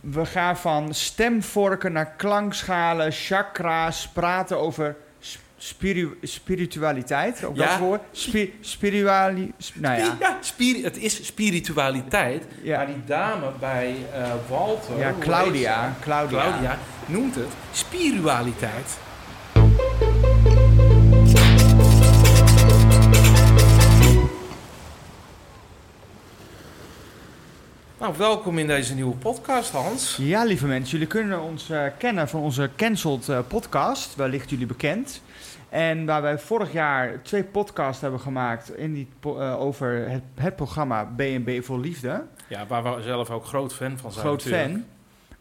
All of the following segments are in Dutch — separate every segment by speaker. Speaker 1: We gaan van stemvorken naar klankschalen, chakra's, praten over sp- spiru- spiritualiteit. Ook
Speaker 2: Ja.
Speaker 1: dat woord. Spi spirituali- sp- nou ja.
Speaker 2: Ja, spiri- het is spiritualiteit. Maar
Speaker 1: Ja,
Speaker 2: die dame bij eh, Walter...
Speaker 1: ja
Speaker 2: hoe
Speaker 1: Claudia,
Speaker 2: heet ze?
Speaker 1: Claudia.
Speaker 2: Oh, Claudia noemt het spiritualiteit. Nou, welkom in deze nieuwe podcast, Hans.
Speaker 1: Ja, lieve mensen, jullie kunnen ons eh, kennen van onze Cancelled eh, podcast. Wellicht jullie bekend. En waar wij vorig jaar twee podcasts hebben gemaakt in die po- eh, over het, het programma B&B voor Liefde.
Speaker 2: Ja, waar we zelf ook groot fan van zijn.
Speaker 1: Groot
Speaker 2: natuurlijk.
Speaker 1: fan.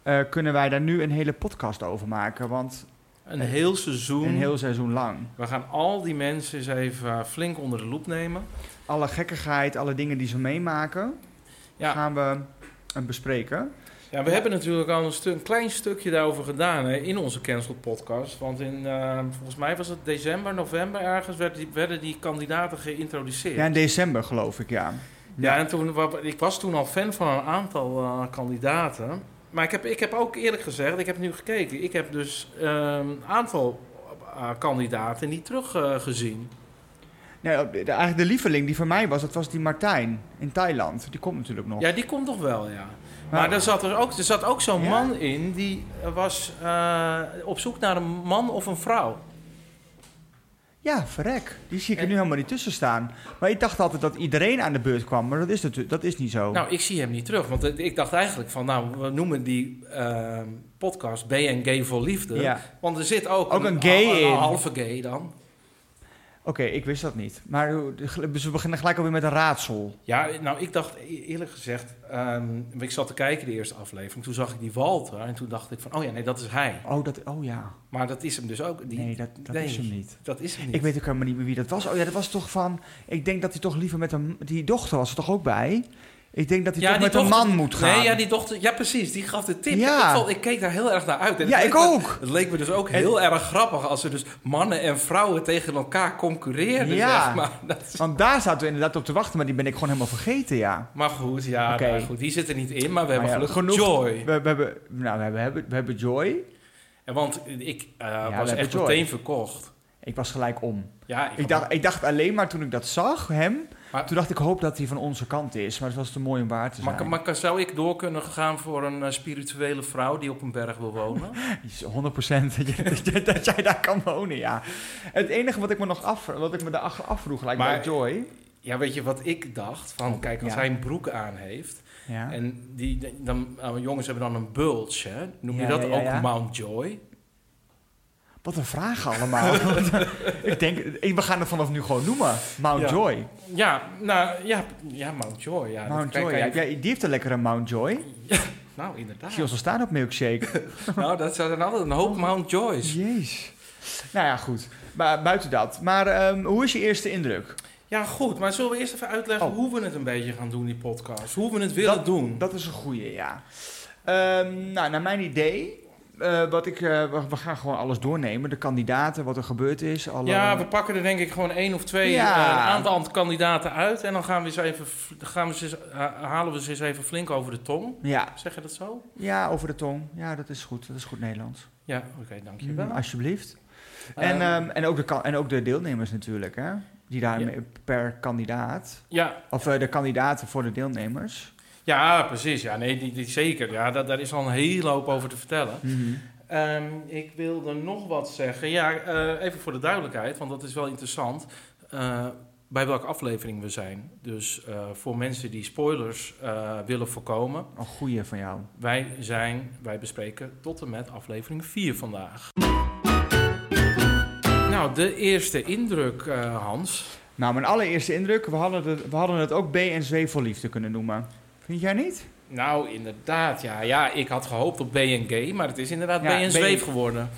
Speaker 1: eh, kunnen wij daar nu een hele podcast over maken? Want
Speaker 2: Een heel seizoen.
Speaker 1: een heel seizoen lang.
Speaker 2: We gaan al die mensen eens even eh, flink onder de loep nemen.
Speaker 1: Alle gekkigheid, alle dingen die ze meemaken,
Speaker 2: Ja.
Speaker 1: gaan we eh, bespreken.
Speaker 2: Ja, we hebben natuurlijk al een, stu- een klein stukje daarover gedaan hè, in onze Cancel Podcast. Want in, eh, volgens mij was het december, november ergens, werd die- werden die kandidaten geïntroduceerd.
Speaker 1: Ja, in december geloof ik, ja.
Speaker 2: Ja, en toen, wa- ik was toen al fan van een aantal eh, kandidaten. Maar ik heb, ik heb ook eerlijk gezegd, ik heb nu gekeken. Ik heb dus eh, een aantal eh, kandidaten niet teruggezien.
Speaker 1: Nee, eh, de, eigenlijk de lieveling die voor mij was, dat was die Martijn in Thailand. Die komt natuurlijk nog.
Speaker 2: ja, die komt nog wel, ja.
Speaker 1: Oh. Nou,
Speaker 2: Maar er zat, er, ook, er zat ook zo'n
Speaker 1: Ja.
Speaker 2: man in die eh, was eh, op zoek naar een man of een vrouw.
Speaker 1: Ja, verrek. Die zie ik er
Speaker 2: En-
Speaker 1: nu helemaal niet tussen staan. Maar ik dacht altijd dat iedereen aan de beurt kwam, maar dat is, natuurlijk, dat is niet zo.
Speaker 2: Nou, ik zie hem niet terug. Want het- ik dacht eigenlijk van, nou, we noemen die eh, podcast B en Gay voor Liefde.
Speaker 1: ja.
Speaker 2: Want er zit ook,
Speaker 1: Ook een gay
Speaker 2: een,
Speaker 1: in.
Speaker 2: halve gay dan.
Speaker 1: Oké, ik wist dat niet. Maar hoe- dus we beginnen gelijk alweer met een raadsel.
Speaker 2: Ja, nou, ik dacht e- eerlijk gezegd... ehm, ik zat te kijken de eerste aflevering. Toen zag ik die Walter en toen dacht ik van... Oh ja, nee, dat is hij.
Speaker 1: Oh, dat, oh ja.
Speaker 2: Maar dat is hem dus ook. Die,
Speaker 1: nee, dat, dat
Speaker 2: nee.
Speaker 1: is hem niet.
Speaker 2: Dat is hem niet.
Speaker 1: Ik weet ook helemaal niet meer wie dat was. Oh ja, dat was toch van... Ik denk dat hij toch liever met een... Die dochter was er toch ook bij? Ik denk dat hij
Speaker 2: Ja,
Speaker 1: toch
Speaker 2: die
Speaker 1: met
Speaker 2: dochter-
Speaker 1: een man moet gaan.
Speaker 2: Nee, ja, die dochter... Ja, precies. Die gaf de tip.
Speaker 1: Ja.
Speaker 2: Ik, vond- ik keek daar heel erg naar uit. En
Speaker 1: Ja,
Speaker 2: het
Speaker 1: ik
Speaker 2: leek me-
Speaker 1: ook.
Speaker 2: Het leek me dus ook
Speaker 1: En-
Speaker 2: heel erg grappig... als er dus mannen en vrouwen tegen elkaar concurreerden.
Speaker 1: Ja.
Speaker 2: zeg maar. Dat is-
Speaker 1: Want daar zaten we inderdaad op te wachten, maar die ben ik gewoon helemaal vergeten, ja.
Speaker 2: Maar goed, ja,
Speaker 1: Oké.
Speaker 2: nou goed, die zit er niet in, maar we hebben
Speaker 1: Maar ja,
Speaker 2: gelukkig Joy.
Speaker 1: We, we hebben, nou, we hebben- we hebben, we hebben Joy.
Speaker 2: En want ik eh,
Speaker 1: we
Speaker 2: was
Speaker 1: hebben
Speaker 2: echt
Speaker 1: Joy.
Speaker 2: meteen verkocht.
Speaker 1: Ik was gelijk om.
Speaker 2: Ja,
Speaker 1: Ik dacht, ik dacht alleen maar toen ik dat zag, hem...
Speaker 2: Maar-
Speaker 1: toen dacht ik, hoop dat hij van onze kant is. Maar het was te mooi om waar te zijn.
Speaker 2: maar, maar kan- zou ik door kunnen gaan voor een eh, spirituele vrouw die op een berg wil wonen?
Speaker 1: 100% dat, je- dat je- dat jij daar kan wonen, ja. Het enige wat ik me nog af, wat ik me daar afvroeg, gelijk
Speaker 2: Maar-
Speaker 1: bij Joy.
Speaker 2: ja, weet je wat ik dacht? Van, kijk, als
Speaker 1: Ja.
Speaker 2: hij een broek aan heeft...
Speaker 1: Ja.
Speaker 2: en die, dan, eh, jongens hebben dan een bulge, hè? noem
Speaker 1: Ja,
Speaker 2: je dat
Speaker 1: ja, ja,
Speaker 2: ook
Speaker 1: ja.
Speaker 2: Mount Joy?
Speaker 1: Wat een vraag allemaal. ik denk, ik- we gaan het vanaf nu gewoon noemen. Mount
Speaker 2: Ja.
Speaker 1: Joy.
Speaker 2: Ja, nou, ja, ja Mount Joy. Ja, dat
Speaker 1: Mount
Speaker 2: kan-
Speaker 1: Joy.
Speaker 2: kan je-
Speaker 1: ja. Ja, die heeft een lekkere Mount Joy.
Speaker 2: Nou, inderdaad.
Speaker 1: Zie ons al staan op milkshake.
Speaker 2: nou, dat zijn altijd een hoop Mount Joys.
Speaker 1: Jeez. Nou ja, goed. Maar buiten dat. Maar ehm, hoe is je eerste indruk?
Speaker 2: Ja, goed. Maar zullen we eerst even uitleggen
Speaker 1: Oh.
Speaker 2: hoe we het een beetje gaan doen, die podcast? Hoe we het willen doen?
Speaker 1: Dat is een goede, ja. Ehm, nou, naar mijn idee. eh, wat ik, eh, we, we gaan gewoon alles doornemen. De kandidaten, wat er gebeurd is. Alle,
Speaker 2: Ja, we pakken er denk ik gewoon één of twee
Speaker 1: Ja.
Speaker 2: eh, een aantal kandidaten uit. En dan gaan we ze even, f- gaan we ze eens, ha- halen we ze eens even flink over de tong.
Speaker 1: ja.
Speaker 2: Zeg je dat zo?
Speaker 1: Ja, over de tong. Ja, dat is goed. Dat is goed Nederlands.
Speaker 2: Ja, oké, dankjewel.
Speaker 1: Mm, alsjeblieft. En,
Speaker 2: Ehm,
Speaker 1: ehm, en, ook de, ka- en ook de deelnemers natuurlijk, hè? Die daar
Speaker 2: Ja.
Speaker 1: mee- per kandidaat.
Speaker 2: ja,
Speaker 1: Of eh, de kandidaten voor de deelnemers.
Speaker 2: ja, precies. Ja, nee, die, die, zeker. Ja, dat, daar is al een hele hoop over te vertellen. Ehm, ik wilde nog wat zeggen. Ja, eh, even voor de duidelijkheid, want dat is wel interessant. eh, bij welke aflevering we zijn. Dus eh, voor mensen die spoilers eh, willen voorkomen.
Speaker 1: Een goeie van jou.
Speaker 2: Wij, zijn, wij bespreken tot en met aflevering 4 vandaag. Nou, de eerste indruk, eh, Hans.
Speaker 1: Nou, mijn allereerste indruk. We hadden het, we hadden het ook B en Z voor liefde kunnen noemen. Vind jij niet?
Speaker 2: Nou, inderdaad. Ja, ja ik had gehoopt op BNG, maar het is inderdaad
Speaker 1: Ja,
Speaker 2: BN
Speaker 1: B&G.
Speaker 2: Zweef geworden.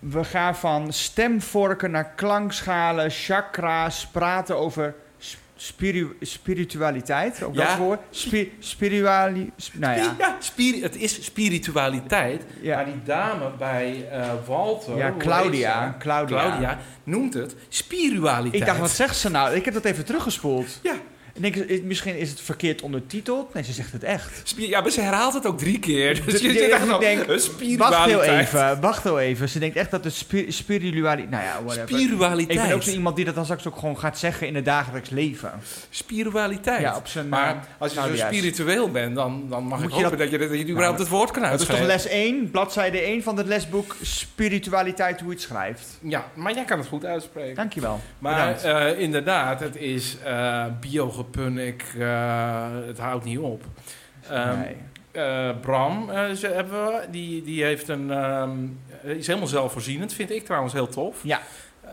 Speaker 1: We gaan van stemvorken naar klankschalen, chakra's, praten over sp- spiru- spiritualiteit. Ook
Speaker 2: Ja.
Speaker 1: dat woord. Spi spirituali- sp- nou ja.
Speaker 2: spiri- het is spiritualiteit. Maar
Speaker 1: ja.
Speaker 2: die dame bij eh, Walter...
Speaker 1: Ja,
Speaker 2: hoe heet
Speaker 1: Claudia,
Speaker 2: ze?
Speaker 1: Claudia.
Speaker 2: Claudia noemt het spiritualiteit.
Speaker 1: Ik dacht, wat zegt ze nou? Ik heb dat even teruggespoeld.
Speaker 2: Ja.
Speaker 1: Ik Ik denk, eh, misschien is het verkeerd ondertiteld. Nee, ze zegt het echt.
Speaker 3: Spier- ja, maar ze herhaalt het ook drie keer. Dus je
Speaker 1: Ja,
Speaker 3: zit echt
Speaker 1: ik
Speaker 3: nog
Speaker 1: denk,
Speaker 3: een
Speaker 1: Wacht heel
Speaker 3: spiritualiteit.
Speaker 1: even, wacht heel even. Ze denkt echt dat de spi spiritualiteit... Nou ja, whatever.
Speaker 3: Spiritualiteit.
Speaker 1: ik ben ook zo iemand die dat dan straks ook gewoon gaat zeggen in het dagelijks leven.
Speaker 3: Spiritualiteit.
Speaker 1: Ja, op zijn... eh,
Speaker 3: maar als je
Speaker 1: nou,
Speaker 3: zo
Speaker 1: juist.
Speaker 3: spiritueel bent, dan, dan mag
Speaker 1: Moet
Speaker 3: ik
Speaker 1: je Nou,
Speaker 3: hopen dat, je, dat je überhaupt het woord kan
Speaker 1: dat is toch
Speaker 3: uitspreken.
Speaker 1: les 1, bladzijde 1 van het lesboek Spiritualiteit, hoe je het schrijft.
Speaker 2: Ja, maar jij kan het goed uitspreken.
Speaker 1: Dankjewel.
Speaker 2: Maar
Speaker 1: Bedankt.
Speaker 2: eh, inderdaad, het is eh biogepunnik, eh, het houdt niet op. Ehm,
Speaker 1: nee.
Speaker 2: eh, Bram eh, ze hebben we, die, die heeft een, ehm, eh, is helemaal zelfvoorzienend, vind ik trouwens heel tof.
Speaker 1: Ja.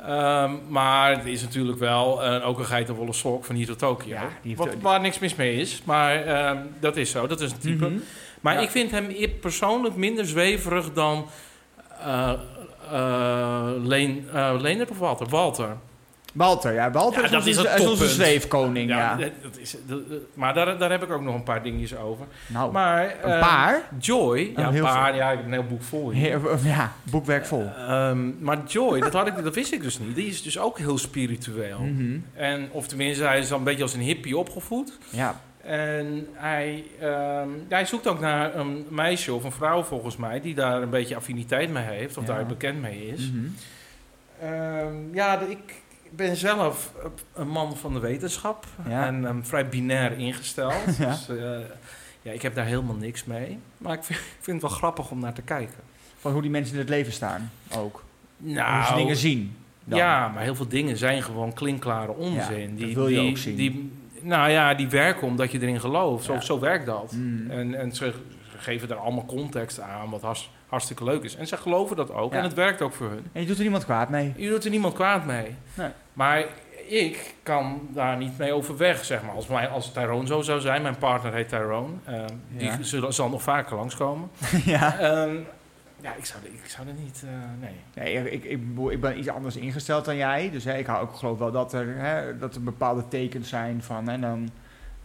Speaker 2: Ehm, maar het is natuurlijk wel eh, ook een geitenwolle sok van hier tot Tokio.
Speaker 1: Ja, die heeft-
Speaker 2: wat, waar niks mis mee is, maar ehm, dat is zo, dat is een type.
Speaker 1: Mhm.
Speaker 2: Maar
Speaker 3: Ja.
Speaker 2: ik vind hem i- persoonlijk minder zweverig dan eh eh, Leen, eh, Leendert of Walter? Walter.
Speaker 1: Walter, ja, Walter
Speaker 2: Ja,
Speaker 1: is,
Speaker 2: dat
Speaker 1: onze,
Speaker 2: is het
Speaker 1: is onze
Speaker 2: toppunt.
Speaker 1: zweefkoning. Ja,
Speaker 2: dat, dat is, dat- dat- maar daar, daar heb ik ook nog een paar dingetjes over.
Speaker 1: Nou,
Speaker 2: Maar,
Speaker 1: een
Speaker 2: eh,
Speaker 1: paar. Oh,
Speaker 2: Joy, ja, een
Speaker 1: heel
Speaker 2: paar,
Speaker 1: veel.
Speaker 2: ja, ik heb een heel boek vol hier.
Speaker 1: Heer- Ja, boekwerk vol.
Speaker 2: Ehm, maar Joy, dat, had ik, dat wist ik dus niet. Die is dus ook heel spiritueel.
Speaker 1: Mhm.
Speaker 2: En, of tenminste, hij is dan een beetje als een hippie opgevoed.
Speaker 1: Ja,
Speaker 2: En hij, ehm, hij zoekt ook naar een meisje of een vrouw, volgens mij, die daar een beetje affiniteit mee heeft. Of
Speaker 1: Ja.
Speaker 2: daar bekend mee is.
Speaker 1: mhm.
Speaker 2: Ehm, ja, de- ik ben zelf eh, een man van de wetenschap
Speaker 1: Ja.
Speaker 2: en ehm, vrij binair ingesteld.
Speaker 1: Ja.
Speaker 2: Dus eh, ja, ik heb daar helemaal niks mee. Maar ik vind, ik vind het wel grappig om naar te kijken.
Speaker 1: van hoe die mensen in het leven staan ook. hoe ze
Speaker 2: Nou,
Speaker 1: dingen zien. dan.
Speaker 2: ja, maar heel veel dingen zijn gewoon klinkklare onzin.
Speaker 1: dat wil je
Speaker 2: die,
Speaker 1: ook zien.
Speaker 2: Die, nou ja, die werken omdat je erin gelooft. Zo,
Speaker 1: Ja.
Speaker 2: zo werkt dat.
Speaker 1: Mhm.
Speaker 2: En, en ze ze geven daar allemaal context aan, wat hars- hartstikke leuk is. En ze geloven dat ook.
Speaker 1: Ja.
Speaker 2: En het werkt ook voor hun.
Speaker 1: En je doet er niemand kwaad mee.
Speaker 2: Je doet er niemand kwaad mee.
Speaker 1: Nee.
Speaker 2: Maar ik kan daar niet mee overweg, zeg maar. Als, mijn, als Tyrone zo zou zijn, mijn partner heet Tyrone. ehm,
Speaker 1: Ja.
Speaker 2: Die zullen, zal nog vaker langskomen.
Speaker 1: ja.
Speaker 2: Ehm ja, ik zou, ik zou er niet... eh, nee.
Speaker 1: Nee, ik, ik, ik, bedoel, ik ben iets anders ingesteld dan jij. Dus hè, ik hou ook geloof wel dat er, hè, dat er bepaalde tekens zijn van. En dan,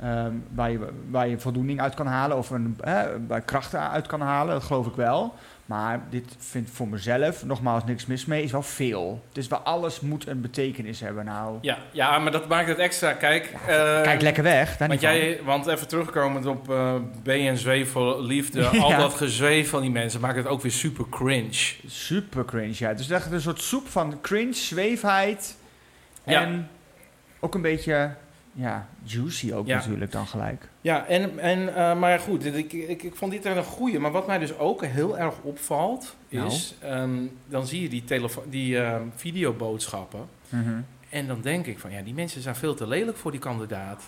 Speaker 1: ehm, waar, je, waar je voldoening uit kan halen of een, hè, waar je krachten uit kan halen. Dat geloof ik wel. Maar dit vind ik voor mezelf, nogmaals, niks mis mee, is wel veel. Dus wel alles moet een betekenis hebben. Nou,
Speaker 2: Ja, ja, maar dat maakt het extra. Kijk, eh,
Speaker 1: kijk lekker weg. Daar
Speaker 2: want,
Speaker 1: niet van.
Speaker 2: jij, want even terugkomend op eh BNZ voor liefde. Al
Speaker 1: Ja.
Speaker 2: dat gezweef van die mensen maakt het ook weer super cringe.
Speaker 1: Super cringe, ja. Het is echt een soort soep van cringe, zweefheid.
Speaker 2: Ja.
Speaker 1: En ook een beetje, ja, juicy ook
Speaker 2: Ja.
Speaker 1: natuurlijk dan gelijk.
Speaker 2: Ja, en, en, eh, maar goed, dit- ik, ik, ik vond dit wel een goeie. Maar wat mij dus ook heel erg opvalt,
Speaker 1: Nou.
Speaker 2: is... ehm, dan zie je die, telefo- die ehm, videoboodschappen.
Speaker 1: Mhm.
Speaker 2: En dan denk ik van, ja, die mensen zijn veel te lelijk voor die kandidaat.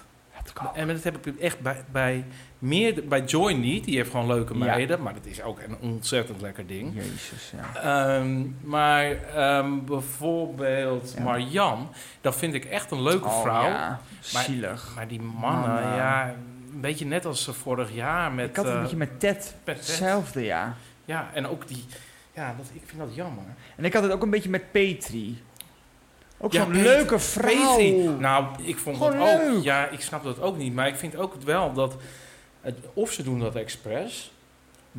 Speaker 1: Dat kan.
Speaker 2: En dat heb ik echt bij, bij, meer, bij Joy niet. Die heeft gewoon leuke
Speaker 1: Ja.
Speaker 2: meiden. Maar dat is ook een ontzettend lekker ding.
Speaker 1: Jezus, ja.
Speaker 2: Ehm, maar ehm, bijvoorbeeld
Speaker 1: Ja.
Speaker 2: Marjan, dat vind ik echt een leuke
Speaker 1: Oh,
Speaker 2: vrouw.
Speaker 1: ja. Zielig.
Speaker 2: Maar die mannen,
Speaker 1: Mannen.
Speaker 2: ja, een beetje net als eh, vorig jaar met...
Speaker 1: ik had het
Speaker 2: eh,
Speaker 1: een beetje met Ted.
Speaker 2: Pet, pet.
Speaker 1: Hetzelfde, ja.
Speaker 2: Ja, en ook die... Ja, dat, ik vind dat jammer.
Speaker 1: En ik had het ook een beetje met Petri. Ook
Speaker 2: Ja,
Speaker 1: zo'n
Speaker 2: Petri-
Speaker 1: leuke vrouw.
Speaker 2: Crazy. Nou, ik vond
Speaker 1: Gewoon
Speaker 2: dat ook...
Speaker 1: leuk.
Speaker 2: Ja, ik snap dat ook niet. Maar ik vind ook wel dat... Het, of ze doen dat expres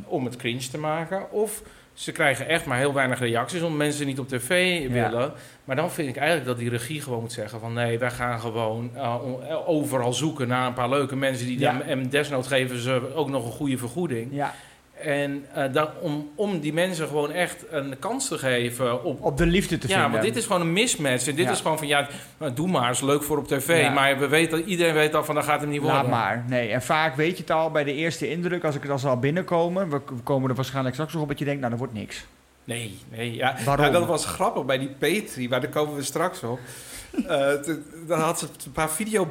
Speaker 2: om het cringe te maken... of ze krijgen echt maar heel weinig reacties... omdat mensen niet op tv
Speaker 1: Ja.
Speaker 2: willen. Maar dan vind ik eigenlijk dat die regie gewoon moet zeggen van... nee, wij gaan gewoon eh, on- eh, overal zoeken naar een paar leuke mensen... die
Speaker 1: Ja.
Speaker 2: dan, en desnoods geven ze ook nog een goede vergoeding.
Speaker 1: Ja,
Speaker 2: En eh, daar- om, om die mensen gewoon echt een kans te geven op...
Speaker 1: op de liefde te
Speaker 2: ja,
Speaker 1: vinden.
Speaker 2: want dit is gewoon een mismatch. En dit
Speaker 1: Ja.
Speaker 2: is gewoon van, ja, nou, doe maar, is leuk voor op tv.
Speaker 1: Ja.
Speaker 2: Maar we weten, iedereen weet al van, dat gaat hem niet worden.
Speaker 1: Laat maar. Nee, en vaak weet je het al bij de eerste indruk, als ik het al zal binnenkomen. We we komen er waarschijnlijk straks nog op dat je denkt, nou, dat wordt niks.
Speaker 2: Nee, nee, ja.
Speaker 1: Waarom?
Speaker 3: Ja, dat was grappig bij die Petri, maar daar komen we straks op. Eh, t- dan had ze een paar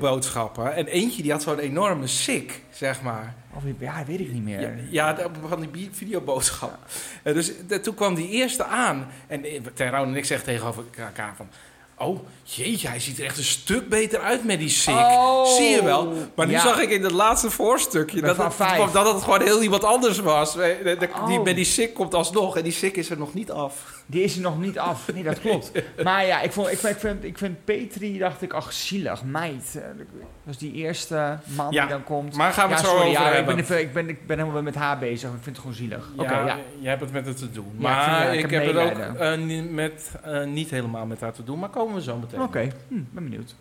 Speaker 3: videoboodschappen. En eentje die had zo'n enorme sik, zeg maar.
Speaker 1: Of, ja, weet ik niet meer.
Speaker 3: Ja, ja de- van die bi- videoboodschap. Eh, dus de- toen kwam die eerste aan. En eh, Terrouw en ik zeggen tegenover elkaar van... Oh, jeetje, hij ziet er echt een stuk beter uit met die sik.
Speaker 1: Oh.
Speaker 3: Zie je wel? Maar nu
Speaker 1: Ja.
Speaker 3: zag ik in dat laatste voorstukje...
Speaker 1: Met
Speaker 3: Dat
Speaker 1: Van
Speaker 3: het,
Speaker 1: Vijf.
Speaker 3: dat het gewoon heel iemand anders was. Eh, de- de- die,
Speaker 1: Oh.
Speaker 3: met die sik komt alsnog. En die sik is er nog niet af.
Speaker 1: Die is er nog niet af. Nee, dat klopt. Maar ja, ik, vond, ik, ik, vind, ik vind Petri, dacht ik, ach zielig, meid. Eh, Dat is die eerste man
Speaker 2: Ja,
Speaker 1: die dan komt.
Speaker 2: Maar gaan we
Speaker 1: ja,
Speaker 2: het zo
Speaker 1: sorry,
Speaker 2: over
Speaker 1: ja, ik
Speaker 2: hebben.
Speaker 1: ben, even- ik, ben, ik ben helemaal met haar bezig. Ik vind het gewoon zielig. Oké, ja.
Speaker 2: jij hebt het met het te doen.
Speaker 1: Ja, ik vind,
Speaker 2: maar
Speaker 1: ja, ik
Speaker 2: ik,
Speaker 1: heb
Speaker 2: heb het ook
Speaker 1: medelijden.
Speaker 2: eh, niet, met, eh, niet
Speaker 1: hm,
Speaker 2: helemaal met haar te doen. Maar komen we zo meteen.
Speaker 1: Oké, hm, ben benieuwd.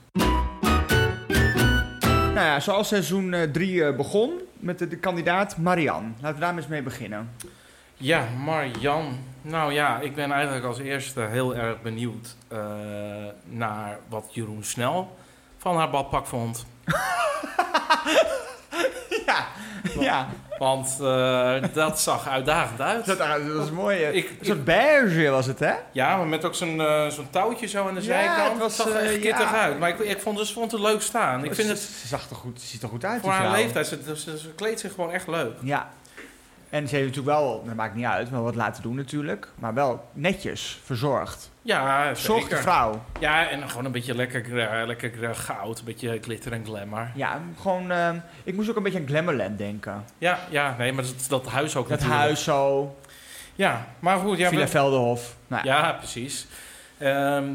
Speaker 1: Nou ja, zoals seizoen 3 begon met de, de kandidaat Marian. Laten we daar maar eens mee beginnen.
Speaker 2: Ja, Marjan. Nou ja, ik ben eigenlijk als eerste heel erg benieuwd eh, naar wat Jeroen Snel van haar badpak vond.
Speaker 1: Ja, ja.
Speaker 2: Want eh, dat zag uitdagend uit.
Speaker 1: Dat, ah, dat was mooi. hè.
Speaker 2: Ik-
Speaker 1: een soort beige was het, hè?
Speaker 2: Ja, maar met ook zo'n eh, zo'n touwtje zo aan de
Speaker 1: Ja,
Speaker 2: zijkant.
Speaker 1: het
Speaker 2: Het
Speaker 1: was,
Speaker 2: zag er echt
Speaker 1: eh,
Speaker 2: kittig
Speaker 1: ja.
Speaker 2: uit. Maar ik, ik vond, dus, vond het leuk staan. Ik vind het
Speaker 1: Ze zag er goed, ze ziet er goed uit,
Speaker 2: voor
Speaker 1: die
Speaker 2: haar
Speaker 1: vrouw.
Speaker 2: leeftijd. Ze, ze, ze kleedt zich gewoon echt leuk.
Speaker 1: Ja. En ze heeft natuurlijk wel, dat maakt niet uit, maar wat laten doen natuurlijk. Maar wel netjes, verzorgd.
Speaker 2: Ja,
Speaker 1: Zorgde
Speaker 2: zeker.
Speaker 1: vrouw.
Speaker 2: Ja, en gewoon een beetje lekker, eh, lekker eh, goud. Een beetje glitter en glamour.
Speaker 1: Ja, gewoon, ehm, ik moest ook een beetje aan Glamourland denken.
Speaker 2: Ja, ja nee, maar dat, dat huis ook
Speaker 1: Dat
Speaker 2: natuurlijk.
Speaker 1: huis zo,
Speaker 2: Ja, maar goed. Ja, we-
Speaker 1: Villa Veldenhof. Nou, ja.
Speaker 2: Ja, precies. Ehm,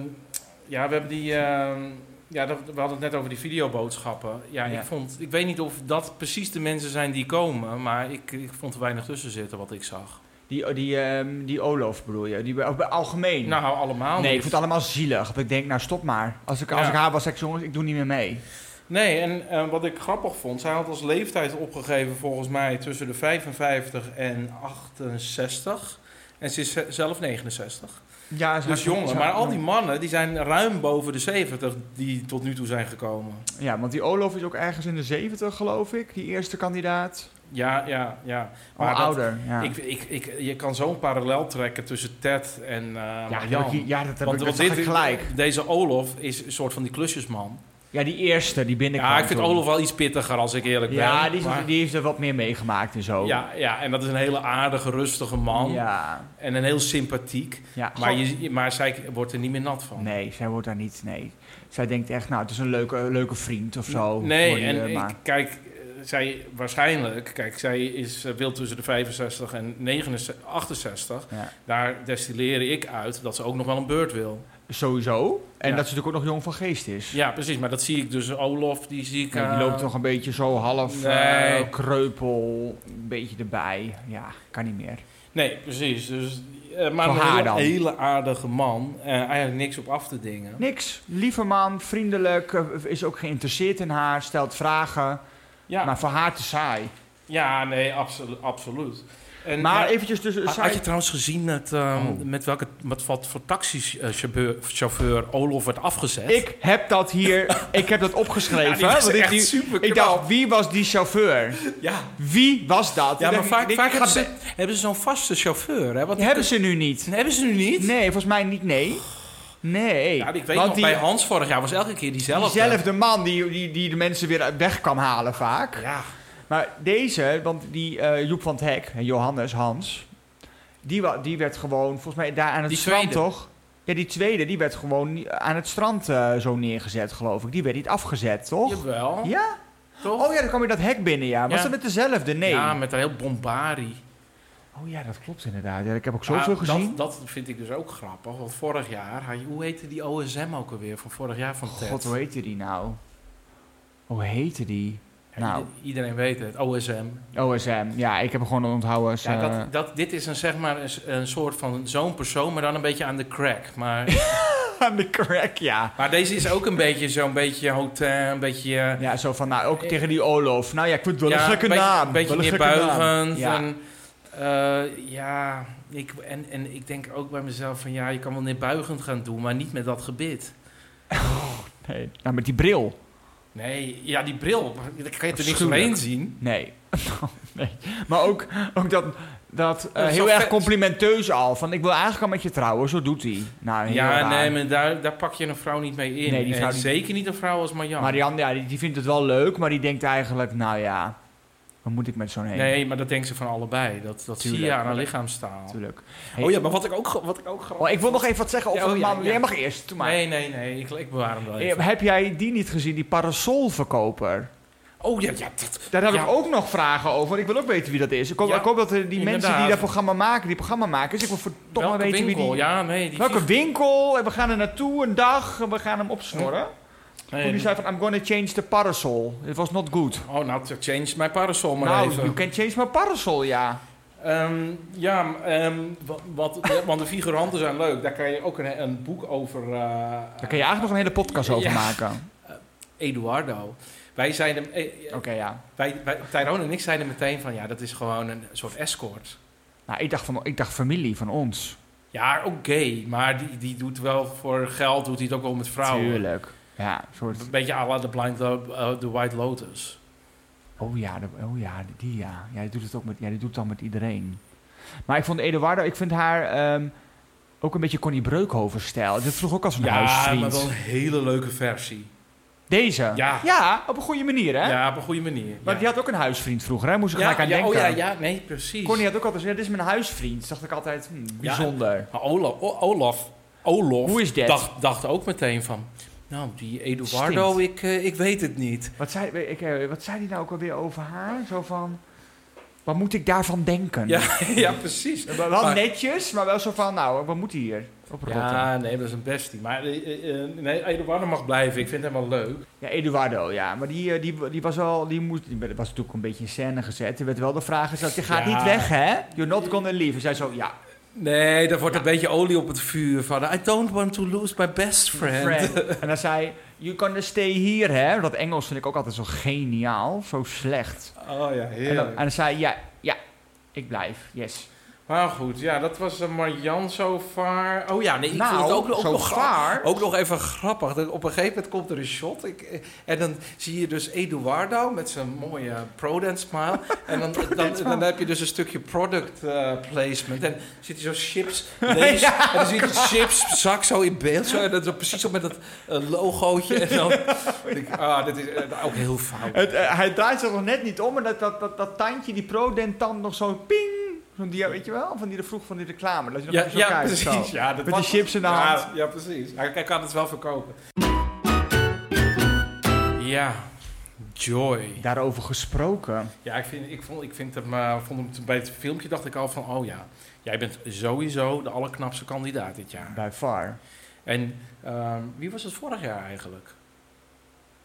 Speaker 2: ja, we hebben die. ehm, ja, dat, we hadden het net over die videoboodschappen. Ja,
Speaker 1: Ja.
Speaker 2: Ik, vond, ik weet niet of dat precies de mensen zijn die komen, maar ik, ik vond er weinig tussen zitten wat ik zag.
Speaker 1: Die, die, ehm, die Olof bedoel je, die, of bij- algemeen.
Speaker 2: Nou, allemaal.
Speaker 1: nee, ik
Speaker 2: niet.
Speaker 1: vond het allemaal zielig. Ik denk, nou stop maar. Als ik, als
Speaker 2: Ja.
Speaker 1: ik haar was, zei ik, jongens, ik doe niet meer mee.
Speaker 2: Nee, en eh, wat ik grappig vond, zij had als leeftijd opgegeven volgens mij tussen de 55 en 68. En ze is ze- zelf 69.
Speaker 1: Ja,
Speaker 2: Dus jonger. Maar al die mannen die zijn ruim boven de 70 die tot nu toe zijn gekomen.
Speaker 1: Ja, want die Olof is ook ergens in de 70, geloof ik, die eerste kandidaat.
Speaker 2: Ja, ja, ja.
Speaker 1: Al
Speaker 2: dat-
Speaker 1: ouder. Ja,
Speaker 2: Ik, ik, ik, je kan zo'n parallel trekken tussen Ted en eh,
Speaker 1: ja, dat
Speaker 2: Jan.
Speaker 1: heb ik- ja, dat heb ik
Speaker 2: Want,
Speaker 1: dat
Speaker 2: want
Speaker 1: zag
Speaker 2: dit,
Speaker 1: ik gelijk.
Speaker 2: deze Olof is een soort van die klusjesman.
Speaker 1: Ja, die eerste, die binnenkwam.
Speaker 2: ja, ik vind
Speaker 1: toen.
Speaker 2: Olof wel iets pittiger als ik eerlijk
Speaker 1: Ja,
Speaker 2: ben.
Speaker 1: die, is-
Speaker 2: maar-
Speaker 1: die heeft er wat meer meegemaakt en zo.
Speaker 2: ja, ja, en dat is een hele aardige, rustige man.
Speaker 1: Ja.
Speaker 2: En een heel sympathiek.
Speaker 1: ja.
Speaker 2: Maar, je, je- maar zij wordt er niet meer nat van.
Speaker 1: Nee, zij wordt daar niet, nee. Zij denkt echt, nou, het is een leuke, leuke vriend of zo. voor
Speaker 2: nee,
Speaker 1: die,
Speaker 2: en
Speaker 1: eh,
Speaker 2: ik-
Speaker 1: maar-
Speaker 2: kijk, eh, zij waarschijnlijk... Kijk, zij is eh, wil tussen de 65 en 69, 68.
Speaker 1: Ja.
Speaker 2: Daar destilleer ik uit dat ze ook nog wel een beurt wil.
Speaker 1: Sowieso. En
Speaker 2: Ja.
Speaker 1: dat ze natuurlijk ook nog jong van geest is.
Speaker 2: Ja, precies. Maar dat zie ik dus. Olof, die zie ik...
Speaker 1: Kijk, die
Speaker 2: eh,
Speaker 1: loopt toch een beetje zo half
Speaker 2: Nee.
Speaker 1: eh, kreupel, een beetje erbij. Ja, kan niet meer.
Speaker 2: Nee, precies. Dus, eh, maar
Speaker 1: Voor haar
Speaker 2: een
Speaker 1: dan.
Speaker 2: hele, hele aardige man. Eh, eigenlijk niks op af te dingen.
Speaker 1: Niks. Lieve man, vriendelijk, eh, is ook geïnteresseerd in haar, stelt vragen.
Speaker 2: Ja,
Speaker 1: Maar voor haar te saai.
Speaker 2: ja nee, absolu absoluut. En,
Speaker 1: maar
Speaker 2: eh,
Speaker 1: eventjes dus... eh,
Speaker 2: had,
Speaker 1: saai-
Speaker 2: had je trouwens gezien dat, ehm,
Speaker 1: Oh.
Speaker 2: met, welke, met wat voor taxichauffeur chauffeur Olof werd afgezet?
Speaker 1: Ik heb dat hier, ik heb dat
Speaker 2: ja,
Speaker 1: opgeschreven.
Speaker 2: die was
Speaker 1: want ik,
Speaker 2: echt
Speaker 1: die-
Speaker 2: super
Speaker 1: ik dacht, wie was die chauffeur?
Speaker 2: ja,
Speaker 1: Wie was dat?
Speaker 2: ja
Speaker 1: Ik dacht,
Speaker 2: maar vaak,
Speaker 1: ik-
Speaker 2: vaak
Speaker 1: ik ga
Speaker 2: hebben, ze, hebben ze zo'n vaste chauffeur. Hè? Want
Speaker 1: be- hebben ze nu niet.
Speaker 2: Hebben ze nu niet?
Speaker 1: Nee, volgens mij niet, nee. Nee.
Speaker 2: Ja, ik weet
Speaker 1: Want
Speaker 2: nog,
Speaker 1: die,
Speaker 2: bij Hans vorig jaar was elke keer diezelfde.
Speaker 1: diezelfde man die, die, die de mensen weer weg kan halen vaak.
Speaker 2: Ja.
Speaker 1: Maar deze, want die eh, Joep van het Hek, en Johannes, Hans... Die, wa- die werd gewoon, volgens mij daar aan het
Speaker 2: Die
Speaker 1: strand
Speaker 2: tweede.
Speaker 1: toch? Ja, die tweede, die werd gewoon ni- aan het strand eh, zo neergezet, geloof ik. Die werd niet afgezet, toch?
Speaker 2: Jawel.
Speaker 1: Ja.
Speaker 2: Toch?
Speaker 1: Oh ja, dan kwam je dat hek binnen, ja. Was
Speaker 2: Ja.
Speaker 1: dat met dezelfde? Nee.
Speaker 2: Ja, met een heel bombari.
Speaker 1: Oh ja, dat klopt inderdaad. Ja, ik heb ook zoveel
Speaker 2: Ja,
Speaker 1: gezien.
Speaker 2: Dat, dat vind ik dus ook grappig. Want vorig jaar, had je- hoe heette die OSM ook alweer van vorig jaar van Ted?
Speaker 1: God, hoe heette die nou? Hoe heette die?
Speaker 2: Ja,
Speaker 1: nou.
Speaker 2: ieder- Iedereen weet het, OSM.
Speaker 1: OSM. Ja, ik heb hem gewoon onthouden. als,
Speaker 2: Ja,
Speaker 1: eh,
Speaker 2: dat, dat, dit is een, zeg maar een, s- een soort van zo'n persoon, maar dan een beetje aan de crack. Maar,
Speaker 1: eh, Aan de crack, ja.
Speaker 2: maar deze is ook een beetje zo'n beetje hotel, een beetje... eh,
Speaker 1: Ja, zo van, nou, ook tegen die Olof. Nou ja, ik vind wel een
Speaker 2: ja,
Speaker 1: gekke
Speaker 2: een beetje,
Speaker 1: naam.
Speaker 2: Een beetje
Speaker 1: wel gekke naam.
Speaker 2: neerbuigend.
Speaker 1: Ja.
Speaker 2: En, eh, ja ik, en, en ik denk ook bij mezelf van ja, je kan wel neerbuigend gaan doen, maar niet met dat gebit.
Speaker 1: Nee. Nou, met die bril.
Speaker 2: Nee, ja, die bril, daar kan je er niks
Speaker 1: Afschuwelijk.
Speaker 2: omheen zien.
Speaker 1: Nee. nee. Maar ook, ook dat, dat eh,
Speaker 2: Dat is
Speaker 1: heel
Speaker 2: wel
Speaker 1: erg
Speaker 2: vet.
Speaker 1: complimenteus al. Van, ik wil eigenlijk al met je trouwen. Zo doet hij. Nou, heel
Speaker 2: Ja,
Speaker 1: raar.
Speaker 2: nee, maar daar, daar pak je een vrouw niet mee in.
Speaker 1: Nee, die
Speaker 2: En
Speaker 1: vrouw die-
Speaker 2: Zeker niet een vrouw als Marjan.
Speaker 1: Marianne, ja, die, die vindt het wel leuk, maar die denkt eigenlijk, nou ja, wat moet ik met zo'n heen?
Speaker 2: Nee, maar dat denkt ze van allebei. Dat, dat zie je
Speaker 1: Tuurlijk.
Speaker 2: aan haar lichaamstaal.
Speaker 1: Natuurlijk.
Speaker 2: Oh ja, maar wat ik ook, ge- wat ik ook grappig...
Speaker 1: Oh, ik wil nog even wat zeggen over
Speaker 2: Ja, oh,
Speaker 1: een
Speaker 2: ja,
Speaker 1: man.
Speaker 2: ja.
Speaker 1: Jij mag eerst, doe maar.
Speaker 2: Nee, nee, nee, ik, ik bewaar hem wel
Speaker 1: Eh,
Speaker 2: even.
Speaker 1: Heb jij die niet gezien, die parasolverkoper?
Speaker 2: Oh ja, ja, dat...
Speaker 1: Daar heb
Speaker 2: Ja.
Speaker 1: ik ook nog vragen over. want Ik wil ook weten wie dat is. Ik hoop,
Speaker 2: Ja,
Speaker 1: ik hoop dat eh, die mensen die
Speaker 2: inderdaad.
Speaker 1: dat programma maken, die programma maken, dus ik wil verdomme
Speaker 2: Welke
Speaker 1: weten
Speaker 2: winkel?
Speaker 1: wie die...
Speaker 2: Ja, nee, die...
Speaker 1: Welke winkel? En we gaan er naartoe een dag. en We gaan hem opsnorren. Toen
Speaker 2: Nee,
Speaker 1: die
Speaker 2: die-
Speaker 1: zei van, I'm gonna change the parasol. It was not good.
Speaker 2: Oh, nou, to change mijn parasol maar
Speaker 1: nou,
Speaker 2: even.
Speaker 1: you can change my parasol, ja.
Speaker 2: Ehm, ja, m- ehm, wat, wat- ja, want de figuranten zijn leuk. Daar kan je ook een, een boek over... eh,
Speaker 1: Daar kun je eigenlijk nog een hele podcast over
Speaker 2: Ja.
Speaker 1: maken.
Speaker 2: Eduardo. Wij zeiden, eh, eh,
Speaker 1: Oké, ja.
Speaker 2: wij, wij, Tyrone en ik zeiden meteen van ja, dat is gewoon een soort escort.
Speaker 1: Nou, ik dacht, van, ik dacht familie van ons.
Speaker 2: Ja, oké, maar die, die doet wel voor geld, doet hij het ook wel met vrouwen.
Speaker 1: Tuurlijk. Ja, een soort...
Speaker 2: Een beetje à la The Blind Lo- eh, The White Lotus.
Speaker 1: Oh ja, de- oh ja, die ja. Ja, die doet het ook met, ja, die doet het dan met iedereen. Maar ik vond Eduardo, ik vind haar ehm, ook een beetje Connie Breukhoven-stijl. Dit vroeg ook als een
Speaker 2: Ja, maar
Speaker 1: huisvriend.
Speaker 2: wel een hele leuke versie.
Speaker 1: Deze?
Speaker 2: Ja.
Speaker 1: Ja, op een goede manier, hè?
Speaker 2: Ja, op een goede manier.
Speaker 1: Maar
Speaker 2: ja.
Speaker 1: die had ook een huisvriend vroeger, hè? Moest ik
Speaker 2: ja,
Speaker 1: gelijk aan
Speaker 2: ja,
Speaker 1: denken.
Speaker 2: Oh ja, ja, nee, precies.
Speaker 1: Connie had ook altijd gezegd, dit is mijn huisvriend. Dacht ik altijd, hm, bijzonder.
Speaker 2: Maar Olaf, O- Olaf, Olaf
Speaker 1: Hoe is dat?
Speaker 2: dacht, dacht ook meteen van... Nou, die Eduardo,
Speaker 1: Stinkt.
Speaker 2: ik, eh, ik weet het niet.
Speaker 1: Wat, zei, ik, eh, wat zei die nou ook alweer over haar? Zo van, wat moet ik daarvan denken?
Speaker 2: Ja, ja precies.
Speaker 1: Wel
Speaker 2: Maar-
Speaker 1: netjes, maar wel zo van, nou, wat moet hij hier? Op ja.
Speaker 2: Ja, nee, dat is een bestie. Maar eh, eh, eh, nee, Eduardo mag blijven. Ik vind hem wel leuk.
Speaker 1: ja, Eduardo, ja. Maar die, eh, die, die was wel, die moest, die was natuurlijk een beetje in scène gezet. Er werd wel de vraag gesteld, je gaat
Speaker 2: Ja.
Speaker 1: niet weg, hè? You're not gonna leave. En zij zo, ja,
Speaker 2: Nee, daar wordt een beetje olie op het vuur van... I don't want to lose my best friend.
Speaker 1: friend. En dan zei, you gonna stay here, hè? Dat Engels vind ik ook altijd zo geniaal, zo slecht.
Speaker 2: Oh ja,
Speaker 1: En dan,
Speaker 2: heerlijk.
Speaker 1: en dan zei hij, ja, ja, ik blijf, yes.
Speaker 2: Maar goed, ja, dat was een Marjan so far. Oh ja, nee, ik
Speaker 1: nou,
Speaker 2: vond het ook, ook
Speaker 1: zo
Speaker 2: nog grappig.
Speaker 1: vaar.
Speaker 2: Ook nog even grappig. dat Op een gegeven moment komt er een shot. Ik, eh, en dan zie je dus Eduardo met zijn mooie prodance smile. En dan, dan, dan heb je dus een stukje product eh, placement. En dan zit hij zo chips. Lees, En dan zie je die chips zak zo in beeld. Zo, en dat zo precies zo met dat eh, logootje. En dan denk ik, ah, dit is eh, ook heel fout.
Speaker 1: Het, eh, hij draait zich nog net niet om, maar dat, dat, dat, dat tandje, die pro-dent-tand, nog zo'n ping. Zo'n dia, weet je wel? Van die de vroeg van die reclame. Dat je nog
Speaker 2: Ja,
Speaker 1: even zo
Speaker 2: ja
Speaker 1: kijkt, zo.
Speaker 2: precies. Ja, dat
Speaker 1: Met
Speaker 2: was-
Speaker 1: die chips in de
Speaker 2: ja,
Speaker 1: hand.
Speaker 2: Ja, precies. Hij, hij kan het wel verkopen. Ja, Joy.
Speaker 1: Daarover gesproken.
Speaker 2: Ja, ik vind, ik vond, ik vind hem, eh, vond hem, bij het filmpje dacht ik al van, oh ja, jij bent sowieso de allerknapste kandidaat dit jaar.
Speaker 1: By far.
Speaker 2: En ehm, wie was het vorig jaar eigenlijk?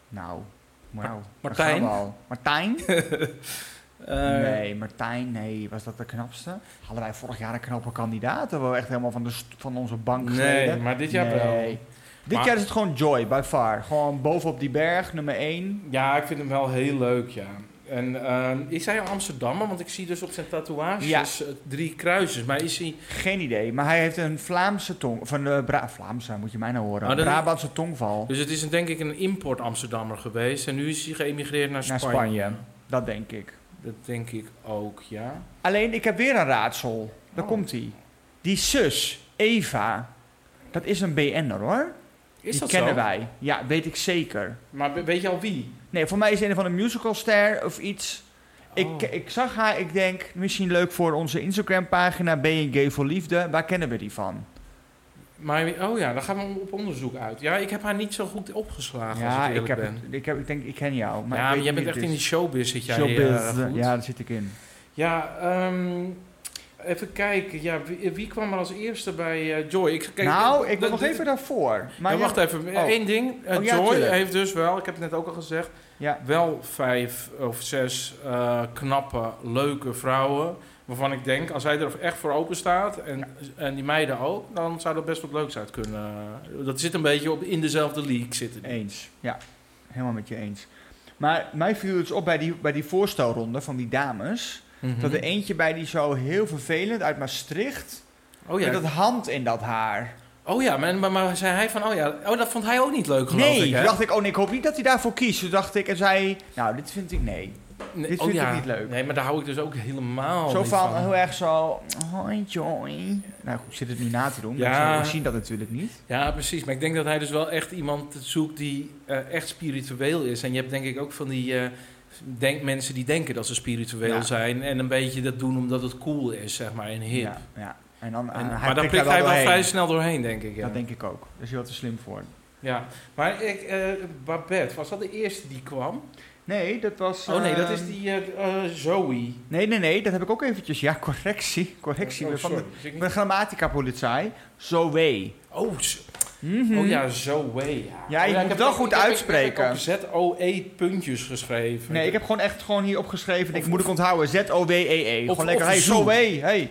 Speaker 1: Nou. Wauw. Daar
Speaker 2: Martijn?
Speaker 1: gaan we al. Martijn?
Speaker 2: Eh,
Speaker 1: nee, Martijn, nee. Was dat de knapste? Hadden wij vorig jaar een knappe kandidaat? Hebben we echt helemaal van, de st- van onze bank
Speaker 2: Nee,
Speaker 1: geleden?
Speaker 2: maar dit jaar wel.
Speaker 1: Nee. Dit
Speaker 2: Maar-
Speaker 1: jaar is het gewoon Joy, by far. Gewoon bovenop die berg, nummer 1.
Speaker 2: Ja, ik vind hem wel heel leuk, ja. En ehm, is hij een Amsterdammer? Want ik zie dus op zijn tatoeages eh, drie kruisjes. Maar is hij...
Speaker 1: Geen idee, maar hij heeft een Vlaamse tong. Van de Bra Vlaamse, moet je mij nou horen.
Speaker 2: Oh, dat-
Speaker 1: Brabantse tongval.
Speaker 2: Dus het is een, denk ik een import Amsterdammer geweest. En nu is hij geëmigreerd naar
Speaker 1: Naar
Speaker 2: Spanje.
Speaker 1: Spanje. Dat denk ik.
Speaker 2: Dat denk ik ook, ja.
Speaker 1: Alleen, ik heb weer een raadsel. Daar
Speaker 2: Oh.
Speaker 1: komt hij. Die zus, Eva, dat is een BN'er hoor.
Speaker 2: Is
Speaker 1: die
Speaker 2: dat
Speaker 1: kennen
Speaker 2: zo?
Speaker 1: wij. Ja, weet ik zeker.
Speaker 2: Maar we- weet je al wie?
Speaker 1: Nee, voor mij is een van de musicalster of iets. Ik,
Speaker 2: Oh.
Speaker 1: ik zag haar, ik denk, misschien leuk voor onze Instagram-pagina BNG voor Liefde. Waar kennen we die van?
Speaker 2: Maar, oh ja, dan gaan we op onderzoek uit. Ja, ik heb haar niet zo goed opgeslagen Ah, als
Speaker 1: ja,
Speaker 2: ik
Speaker 1: ik,
Speaker 2: eerlijk
Speaker 1: heb,
Speaker 2: ben.
Speaker 1: het- ik, heb, ik denk, ik ken jou. Maar
Speaker 2: ja,
Speaker 1: ik
Speaker 2: maar
Speaker 1: weet
Speaker 2: jij
Speaker 1: niet
Speaker 2: bent echt
Speaker 1: wie
Speaker 2: in die
Speaker 1: het
Speaker 2: showbiz zit jij.
Speaker 1: is. Showbiz,
Speaker 2: eh, goed.
Speaker 1: ja,
Speaker 2: Ja,
Speaker 1: daar zit ik in.
Speaker 2: ehm, even kijken. Ja, wie, wie kwam er als eerste bij eh, Joy? Ik, kijk,
Speaker 1: nou,
Speaker 2: eh,
Speaker 1: ik wil
Speaker 2: dat-
Speaker 1: nog
Speaker 2: dat-
Speaker 1: even daarvoor. Maar
Speaker 2: ja,
Speaker 1: ja-
Speaker 2: wacht even,
Speaker 1: Oh.
Speaker 2: één ding. Eh,
Speaker 1: Oh, ja,
Speaker 2: Joy
Speaker 1: tuurlijk.
Speaker 2: heeft dus wel, ik heb het net ook al gezegd,
Speaker 1: Ja.
Speaker 2: wel vijf of zes eh, knappe, leuke vrouwen. Waarvan ik denk, als hij er echt voor open staat en, en die meiden ook, dan zou dat best wat leuks uit kunnen. eh, Dat zit een beetje op, in dezelfde league zitten. die.
Speaker 1: Eens, ja. Helemaal met je eens. Maar mij viel het op bij die, bij die voorstelronde van die dames.
Speaker 2: Mhm.
Speaker 1: Dat er eentje bij die zo heel vervelend uit Maastricht.
Speaker 2: Oh ja,
Speaker 1: Met dat hand in dat haar.
Speaker 2: oh, ja maar, maar, maar zei hij van, oh ja, oh, dat vond hij ook niet leuk, geloof
Speaker 1: nee,
Speaker 2: ik.
Speaker 1: toen
Speaker 2: hè?
Speaker 1: dacht ik, oh nee, ik hoop niet dat hij daarvoor kiest. Toen dacht ik en zei, nou, dit vind ik nee.
Speaker 2: Nee,
Speaker 1: dit
Speaker 2: oh
Speaker 1: vind ik
Speaker 2: ja.
Speaker 1: niet leuk.
Speaker 2: Nee, maar daar hou ik dus ook helemaal
Speaker 1: zo
Speaker 2: niet
Speaker 1: van, eh, heel erg zo, hoi joy. Nou goed, ik zit het nu na te doen.
Speaker 2: Ja.
Speaker 1: Ja. We zien dat natuurlijk niet.
Speaker 2: Ja, precies. Maar ik denk dat hij dus wel echt iemand zoekt die eh, echt spiritueel is. En je hebt denk ik ook van die eh, denk, mensen die denken dat ze spiritueel
Speaker 1: Ja.
Speaker 2: zijn. En een beetje dat doen omdat het cool is, zeg maar, en hip.
Speaker 1: Ja, ja. En dan,
Speaker 2: En-
Speaker 1: eh, hij
Speaker 2: maar daar prikt
Speaker 1: daar
Speaker 2: hij wel
Speaker 1: doorheen.
Speaker 2: vrij snel doorheen, denk ik. Ja,
Speaker 1: Dat denk ik ook. Daar is hij wel te slim voor.
Speaker 2: ja. maar ik, eh, Babette, was dat de eerste die kwam?
Speaker 1: Nee, dat was...
Speaker 2: Oh nee, dat
Speaker 1: eh,
Speaker 2: is die eh, eh, Zoe.
Speaker 1: Nee, nee, nee, dat heb ik ook eventjes. Ja, correctie. Correctie.
Speaker 2: Oh,
Speaker 1: weer van de,
Speaker 2: sorry. Dus ik
Speaker 1: ik
Speaker 2: niet-
Speaker 1: ben grammatica-politie. Zoe.
Speaker 2: Oh, zo-
Speaker 1: Mhm.
Speaker 2: oh ja, Zoe. Ja,
Speaker 1: Ja, je
Speaker 2: ik
Speaker 1: moet
Speaker 2: heb
Speaker 1: wel
Speaker 2: ook-
Speaker 1: goed
Speaker 2: ik heb- ik-
Speaker 1: uitspreken.
Speaker 2: Ik heb ook ZOE puntjes geschreven.
Speaker 1: Nee, ik heb gewoon echt gewoon hier opgeschreven. Ik
Speaker 2: Of-
Speaker 1: moet ik onthouden. Z-O-W-E-E.
Speaker 2: Of-
Speaker 1: E Gewoon lekker.
Speaker 2: of
Speaker 1: Hey,
Speaker 2: Zoe.
Speaker 1: Zoe. Hey.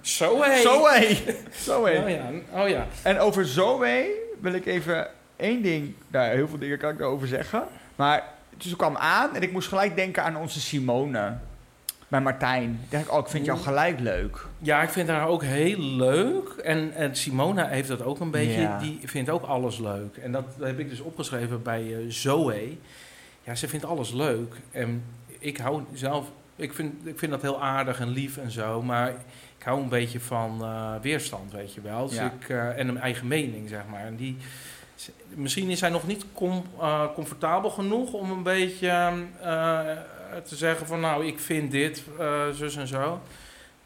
Speaker 2: Zoe.
Speaker 1: Zoe. Zoe.
Speaker 2: Oh ja, oh ja.
Speaker 1: En over Zoe wil ik even één ding... Nou, heel veel dingen kan ik daarover zeggen. Maar dus ik kwam aan en ik moest gelijk denken aan onze Simone. Bij Martijn. Ik dacht, oh, ik vind jou gelijk leuk.
Speaker 2: Ja, ik vind haar ook heel leuk. En, en Simona heeft dat ook een beetje.
Speaker 1: Ja.
Speaker 2: Die vindt ook alles leuk. En dat heb ik dus opgeschreven bij eh, Zoe. Ja, ze vindt alles leuk. En ik hou zelf... Ik vind, ik vind dat heel aardig en lief en zo. Maar ik hou een beetje van eh, weerstand, weet je wel. Dus
Speaker 1: Ja.
Speaker 2: ik, eh, en een eigen mening, zeg maar. En die... ze- Misschien is hij nog niet com- eh, comfortabel genoeg om een beetje eh, eh, te zeggen van... Nou, ik vind dit, eh, zus en zo.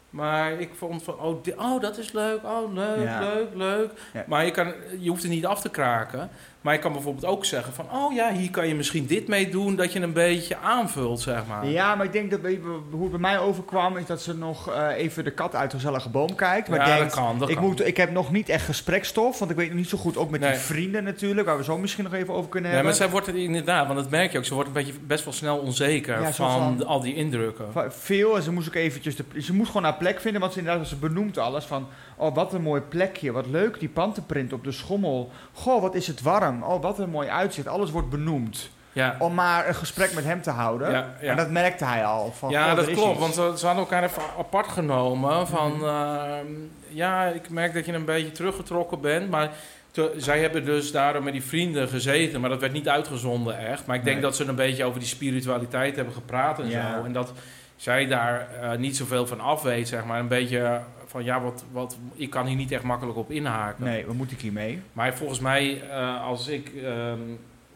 Speaker 2: Maar ik vond van, oh, di- oh dat is leuk, oh, leuk,
Speaker 1: Ja.
Speaker 2: leuk, leuk.
Speaker 1: Ja.
Speaker 2: Maar je, kan, je hoeft het niet af te kraken. Maar je kan bijvoorbeeld ook zeggen van, oh ja, hier kan je misschien dit mee doen, dat je een beetje aanvult, zeg maar.
Speaker 1: Ja, maar ik denk dat bij- hoe het bij mij overkwam is dat ze nog eh, even de kat uit de gezellige boom kijkt. Maar
Speaker 2: Ja,
Speaker 1: denkt,
Speaker 2: dat kan, dat
Speaker 1: ik,
Speaker 2: kan.
Speaker 1: Moet, ik heb nog niet echt gesprekstof, want ik weet nog niet zo goed, ook met
Speaker 2: Nee.
Speaker 1: die vrienden natuurlijk, waar we zo misschien nog even over kunnen
Speaker 2: Nee, maar
Speaker 1: hebben.
Speaker 2: zij wordt er inderdaad, want dat merk je ook, ze wordt een beetje best wel snel onzeker
Speaker 1: Ja, zo
Speaker 2: van,
Speaker 1: van-
Speaker 2: al die indrukken.
Speaker 1: Va- Veel, en ze moest ook eventjes, de, ze moest gewoon haar plek vinden, want ze, inderdaad, ze benoemt alles van, oh wat een mooi plekje, wat leuk die pantenprint op de schommel. Goh, wat is het warm, oh wat een mooi uitzicht, alles wordt benoemd.
Speaker 2: Ja,
Speaker 1: Om maar een gesprek met hem te houden.
Speaker 2: ja, ja.
Speaker 1: En dat merkte hij al. Van,
Speaker 2: ja,
Speaker 1: goh,
Speaker 2: dat
Speaker 1: er is
Speaker 2: klopt.
Speaker 1: iets. Mhm.
Speaker 2: Want ze, ze hadden elkaar even apart genomen. Van ehm, ja, ik merk dat je een beetje teruggetrokken bent. Maar te- zij hebben dus daarom met die vrienden gezeten. Maar dat werd niet uitgezonden echt. Maar ik denk
Speaker 1: Nee.
Speaker 2: dat ze een beetje over die spiritualiteit hebben gepraat en
Speaker 1: Ja.
Speaker 2: zo. En dat zij daar eh, niet zoveel van af weet, zeg maar. Een beetje eh, van ja, wat, wat, ik kan hier niet echt makkelijk op inhaken.
Speaker 1: Nee, we moeten hiermee.
Speaker 2: Maar volgens mij, eh, als ik ehm,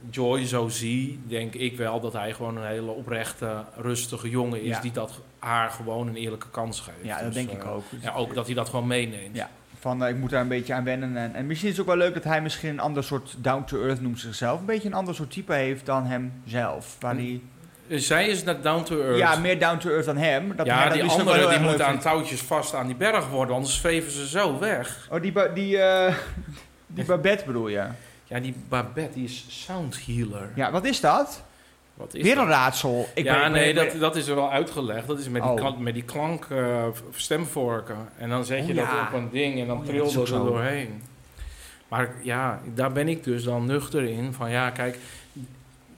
Speaker 2: Joy zo zie, denk ik wel dat hij gewoon een hele oprechte, rustige jongen is.
Speaker 1: Ja.
Speaker 2: Die dat haar gewoon een eerlijke kans geeft.
Speaker 1: Ja, dat
Speaker 2: Dus,
Speaker 1: denk
Speaker 2: eh,
Speaker 1: ik ook.
Speaker 2: Ja, ook dat hij dat gewoon meeneemt.
Speaker 1: Ja. Van eh, ik moet daar een beetje aan wennen. En, en misschien is het ook wel leuk dat hij misschien een ander soort down-to-earth noemt zichzelf. Een beetje een ander soort type heeft dan hemzelf. Waar
Speaker 2: Hm.
Speaker 1: die,
Speaker 2: Dus Zij is naar down to earth.
Speaker 1: ja, meer down-to-earth dan hem. Dat
Speaker 2: Ja,
Speaker 1: hij dat
Speaker 2: die
Speaker 1: dus ook wel
Speaker 2: andere
Speaker 1: heel
Speaker 2: die
Speaker 1: erg
Speaker 2: moet
Speaker 1: leuk
Speaker 2: aan
Speaker 1: vindt.
Speaker 2: touwtjes vast aan die berg worden, anders zweven ze zo weg.
Speaker 1: Oh, die, ba- die, eh, die Babette bedoel je?
Speaker 2: Ja, die Babette die is sound healer.
Speaker 1: Ja, wat is dat?
Speaker 2: Wat is
Speaker 1: Weer
Speaker 2: dat?
Speaker 1: een raadsel. Ik
Speaker 2: ja,
Speaker 1: ben-
Speaker 2: nee,
Speaker 1: ik ben-
Speaker 2: dat, dat is er wel uitgelegd. Dat is met
Speaker 1: Oh.
Speaker 2: die, klank, met die klank eh, v- stemvorken. En dan zet
Speaker 1: Oh,
Speaker 2: je
Speaker 1: ja.
Speaker 2: dat op een ding en dan
Speaker 1: Oh, ja, dat
Speaker 2: trilt
Speaker 1: is ook
Speaker 2: dat er
Speaker 1: zo.
Speaker 2: doorheen. Maar ja, daar ben ik dus dan nuchter in. Van ja, kijk,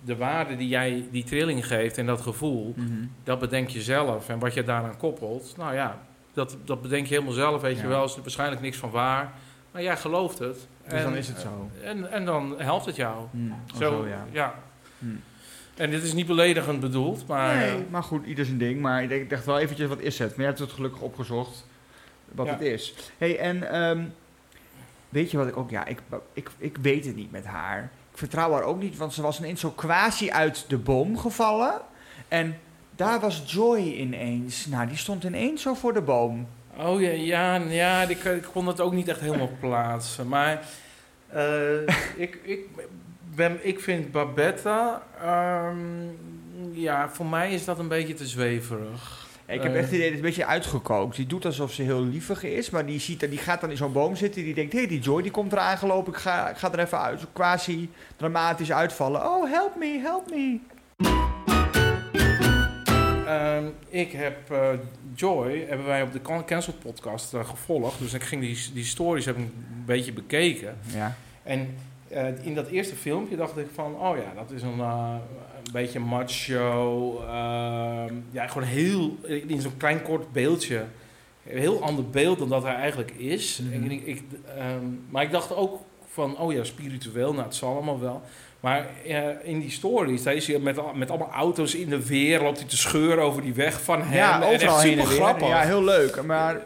Speaker 2: de waarde die jij die trilling geeft en dat gevoel,
Speaker 1: Mhm.
Speaker 2: dat bedenk je zelf. En wat je daaraan koppelt, nou ja, dat, dat bedenk je helemaal zelf, weet
Speaker 1: Ja.
Speaker 2: je wel. Is er waarschijnlijk niks van waar. Maar jij gelooft het.
Speaker 1: Dus dan is het zo.
Speaker 2: En, en dan helpt het jou.
Speaker 1: Hm, oh,
Speaker 2: Zo,
Speaker 1: zo, ja.
Speaker 2: ja.
Speaker 1: Hm.
Speaker 2: En dit is niet beledigend bedoeld, maar... eh,
Speaker 1: Nee, maar goed, ieder zijn ding. Maar ik denk- ik dacht wel eventjes, wat is het? Maar je hebt het gelukkig opgezocht wat
Speaker 2: Ja.
Speaker 1: het is. hey, en ehm, weet je wat ik ook... Ja, ik, ik, ik weet het niet met haar. Ik vertrouw haar ook niet, want ze was ineens zo quasi uit de boom gevallen. En daar was Joy ineens. Nou, die stond ineens zo voor de boom.
Speaker 2: Oh ja, ja, ja ik, ik kon dat ook niet echt helemaal plaatsen. Maar eh, ik, ik, ben, ik vind Babetta... ehm, ja, voor mij is dat een beetje te zweverig.
Speaker 1: Ik heb
Speaker 2: Eh.
Speaker 1: echt het idee, dat het een beetje uitgekookt. Die doet alsof ze heel lievig is, maar die, ziet, die gaat dan in zo'n boom zitten. Die denkt, hé, hey, die Joy die komt eraan gelopen. Ik ga, ik ga er even uit, zo quasi dramatisch uitvallen. Oh, help me, help me.
Speaker 2: Ehm, ik heb eh, Joy, hebben wij op de Can- Cancel podcast eh, gevolgd. Dus ik ging die, die stories heb ik een beetje bekeken.
Speaker 1: Ja.
Speaker 2: En eh, in dat eerste filmpje dacht ik van, oh ja, dat is een, eh, een beetje macho. ehm, ja, gewoon heel, in zo'n klein kort beeldje. Een heel ander beeld dan dat hij eigenlijk is.
Speaker 1: Mhm.
Speaker 2: En ik, ik, ehm, maar ik dacht ook van, oh ja, spiritueel, nou het zal allemaal wel. Maar eh, in die stories, daar is hij met, al- met allemaal auto's in de weer, loopt hij te scheuren over die weg van hem.
Speaker 1: Ja,
Speaker 2: en
Speaker 1: overal
Speaker 2: echt
Speaker 1: heen
Speaker 2: super
Speaker 1: en weer.
Speaker 2: grappig.
Speaker 1: Ja, heel leuk. Maar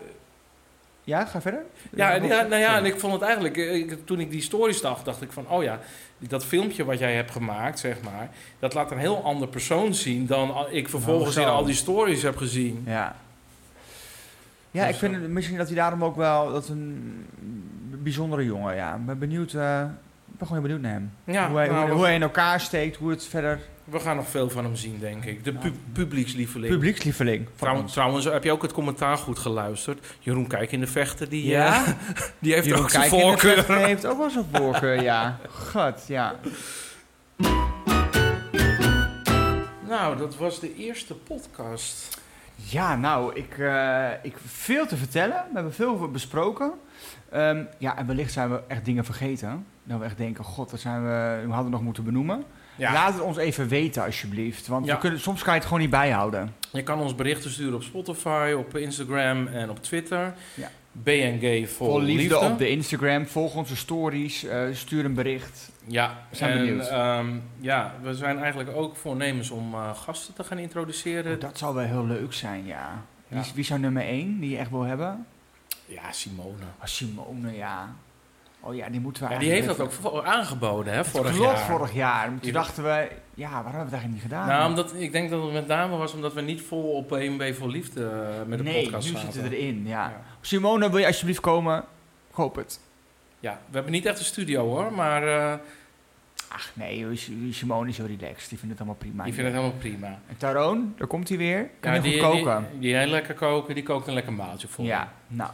Speaker 1: ja, ga verder.
Speaker 2: Ja, en- ja, nou ja, en
Speaker 1: Sorry.
Speaker 2: ik vond het eigenlijk, eh, ik- toen ik die stories dacht, dacht ik van, oh ja, dat filmpje wat jij hebt gemaakt, zeg maar, dat laat een heel ander persoon zien dan al- ik vervolgens
Speaker 1: Nou,
Speaker 2: in
Speaker 1: zo.
Speaker 2: al die stories heb gezien.
Speaker 1: Ja. Ja, ik vind het, misschien dat hij daarom ook wel dat een bijzondere jongen. Ja, ik ben benieuwd. eh, ik ben gewoon heel benieuwd naar hem.
Speaker 2: Ja,
Speaker 1: hoe, hij,
Speaker 2: nou,
Speaker 1: hoe,
Speaker 2: we-
Speaker 1: hoe hij in elkaar steekt, hoe het verder.
Speaker 2: we gaan nog veel van hem zien, denk ik. De pu- publiekslieveling.
Speaker 1: Publiekslieveling. van
Speaker 2: Trouw-
Speaker 1: ons.
Speaker 2: trouwens, heb je ook het commentaar goed geluisterd? Jeroen Kijk in de Vechten, die,
Speaker 1: Ja?
Speaker 2: eh, die heeft
Speaker 1: Jeroen
Speaker 2: ook zijn
Speaker 1: Kijk in de
Speaker 2: voorkeur.
Speaker 1: vechten heeft ook wel zijn voorkeur, ja. Gat, ja.
Speaker 2: Nou, dat was de eerste podcast.
Speaker 1: Ja, nou, ik, eh, ik veel te vertellen. We hebben veel besproken. Ehm, ja, en wellicht zijn we echt dingen vergeten. Dat we echt denken, god, dat zijn we, we hadden we nog moeten benoemen.
Speaker 2: Ja.
Speaker 1: Laat het ons even weten, alsjeblieft. Want
Speaker 2: Ja.
Speaker 1: we kunnen, soms kan je het gewoon niet bijhouden.
Speaker 2: Je kan ons berichten sturen op Spotify, op Instagram en op Twitter.
Speaker 1: Ja.
Speaker 2: BNG vol,
Speaker 1: Vol liefde,
Speaker 2: liefde.
Speaker 1: op de Instagram. Volg onze stories. eh, stuur een bericht.
Speaker 2: Ja,
Speaker 1: We zijn
Speaker 2: en,
Speaker 1: benieuwd.
Speaker 2: ehm, ja, we zijn eigenlijk ook voornemens om eh, gasten te gaan introduceren.
Speaker 1: Oh, dat zou wel heel leuk zijn, ja. Wie,
Speaker 2: Eh, Ja.
Speaker 1: wie zou nummer 1 die je echt wil hebben?
Speaker 2: Ja, Simone.
Speaker 1: Ah, Simone, ja. Oh ja, die moeten we
Speaker 2: Ja, die heeft
Speaker 1: eigenlijk
Speaker 2: dat ook voor- aangeboden, hè, vorig
Speaker 1: Klopt,
Speaker 2: jaar.
Speaker 1: vorig jaar. Maar Toen
Speaker 2: Die-
Speaker 1: dachten we, ja, waarom hebben we dat eigenlijk niet gedaan?
Speaker 2: Nou, omdat, ik denk dat het met name was omdat we niet vol op BNB Vol Liefde eh, met de
Speaker 1: nee,
Speaker 2: podcast
Speaker 1: nu
Speaker 2: zaten.
Speaker 1: zitten we erin, ja.
Speaker 2: Ja.
Speaker 1: Simone, wil je alsjeblieft komen? Ik hoop het.
Speaker 2: Ja, we hebben niet echt een studio hoor, maar eh
Speaker 1: Ach nee, joh, S- Simone is heel relaxed. Die vindt het allemaal prima.
Speaker 2: ik vind het helemaal prima.
Speaker 1: En Taroon, daar komt hij weer. Kan
Speaker 2: ja,
Speaker 1: heel
Speaker 2: die,
Speaker 1: goed koken.
Speaker 2: Die, die heel lekker koken, die kookt een lekker maaltje voor. me.
Speaker 1: ja, nou.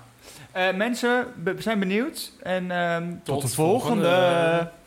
Speaker 1: Eh, mensen, we zijn benieuwd. En ehm, tot,
Speaker 2: Tot
Speaker 1: de volgende.
Speaker 2: volgende.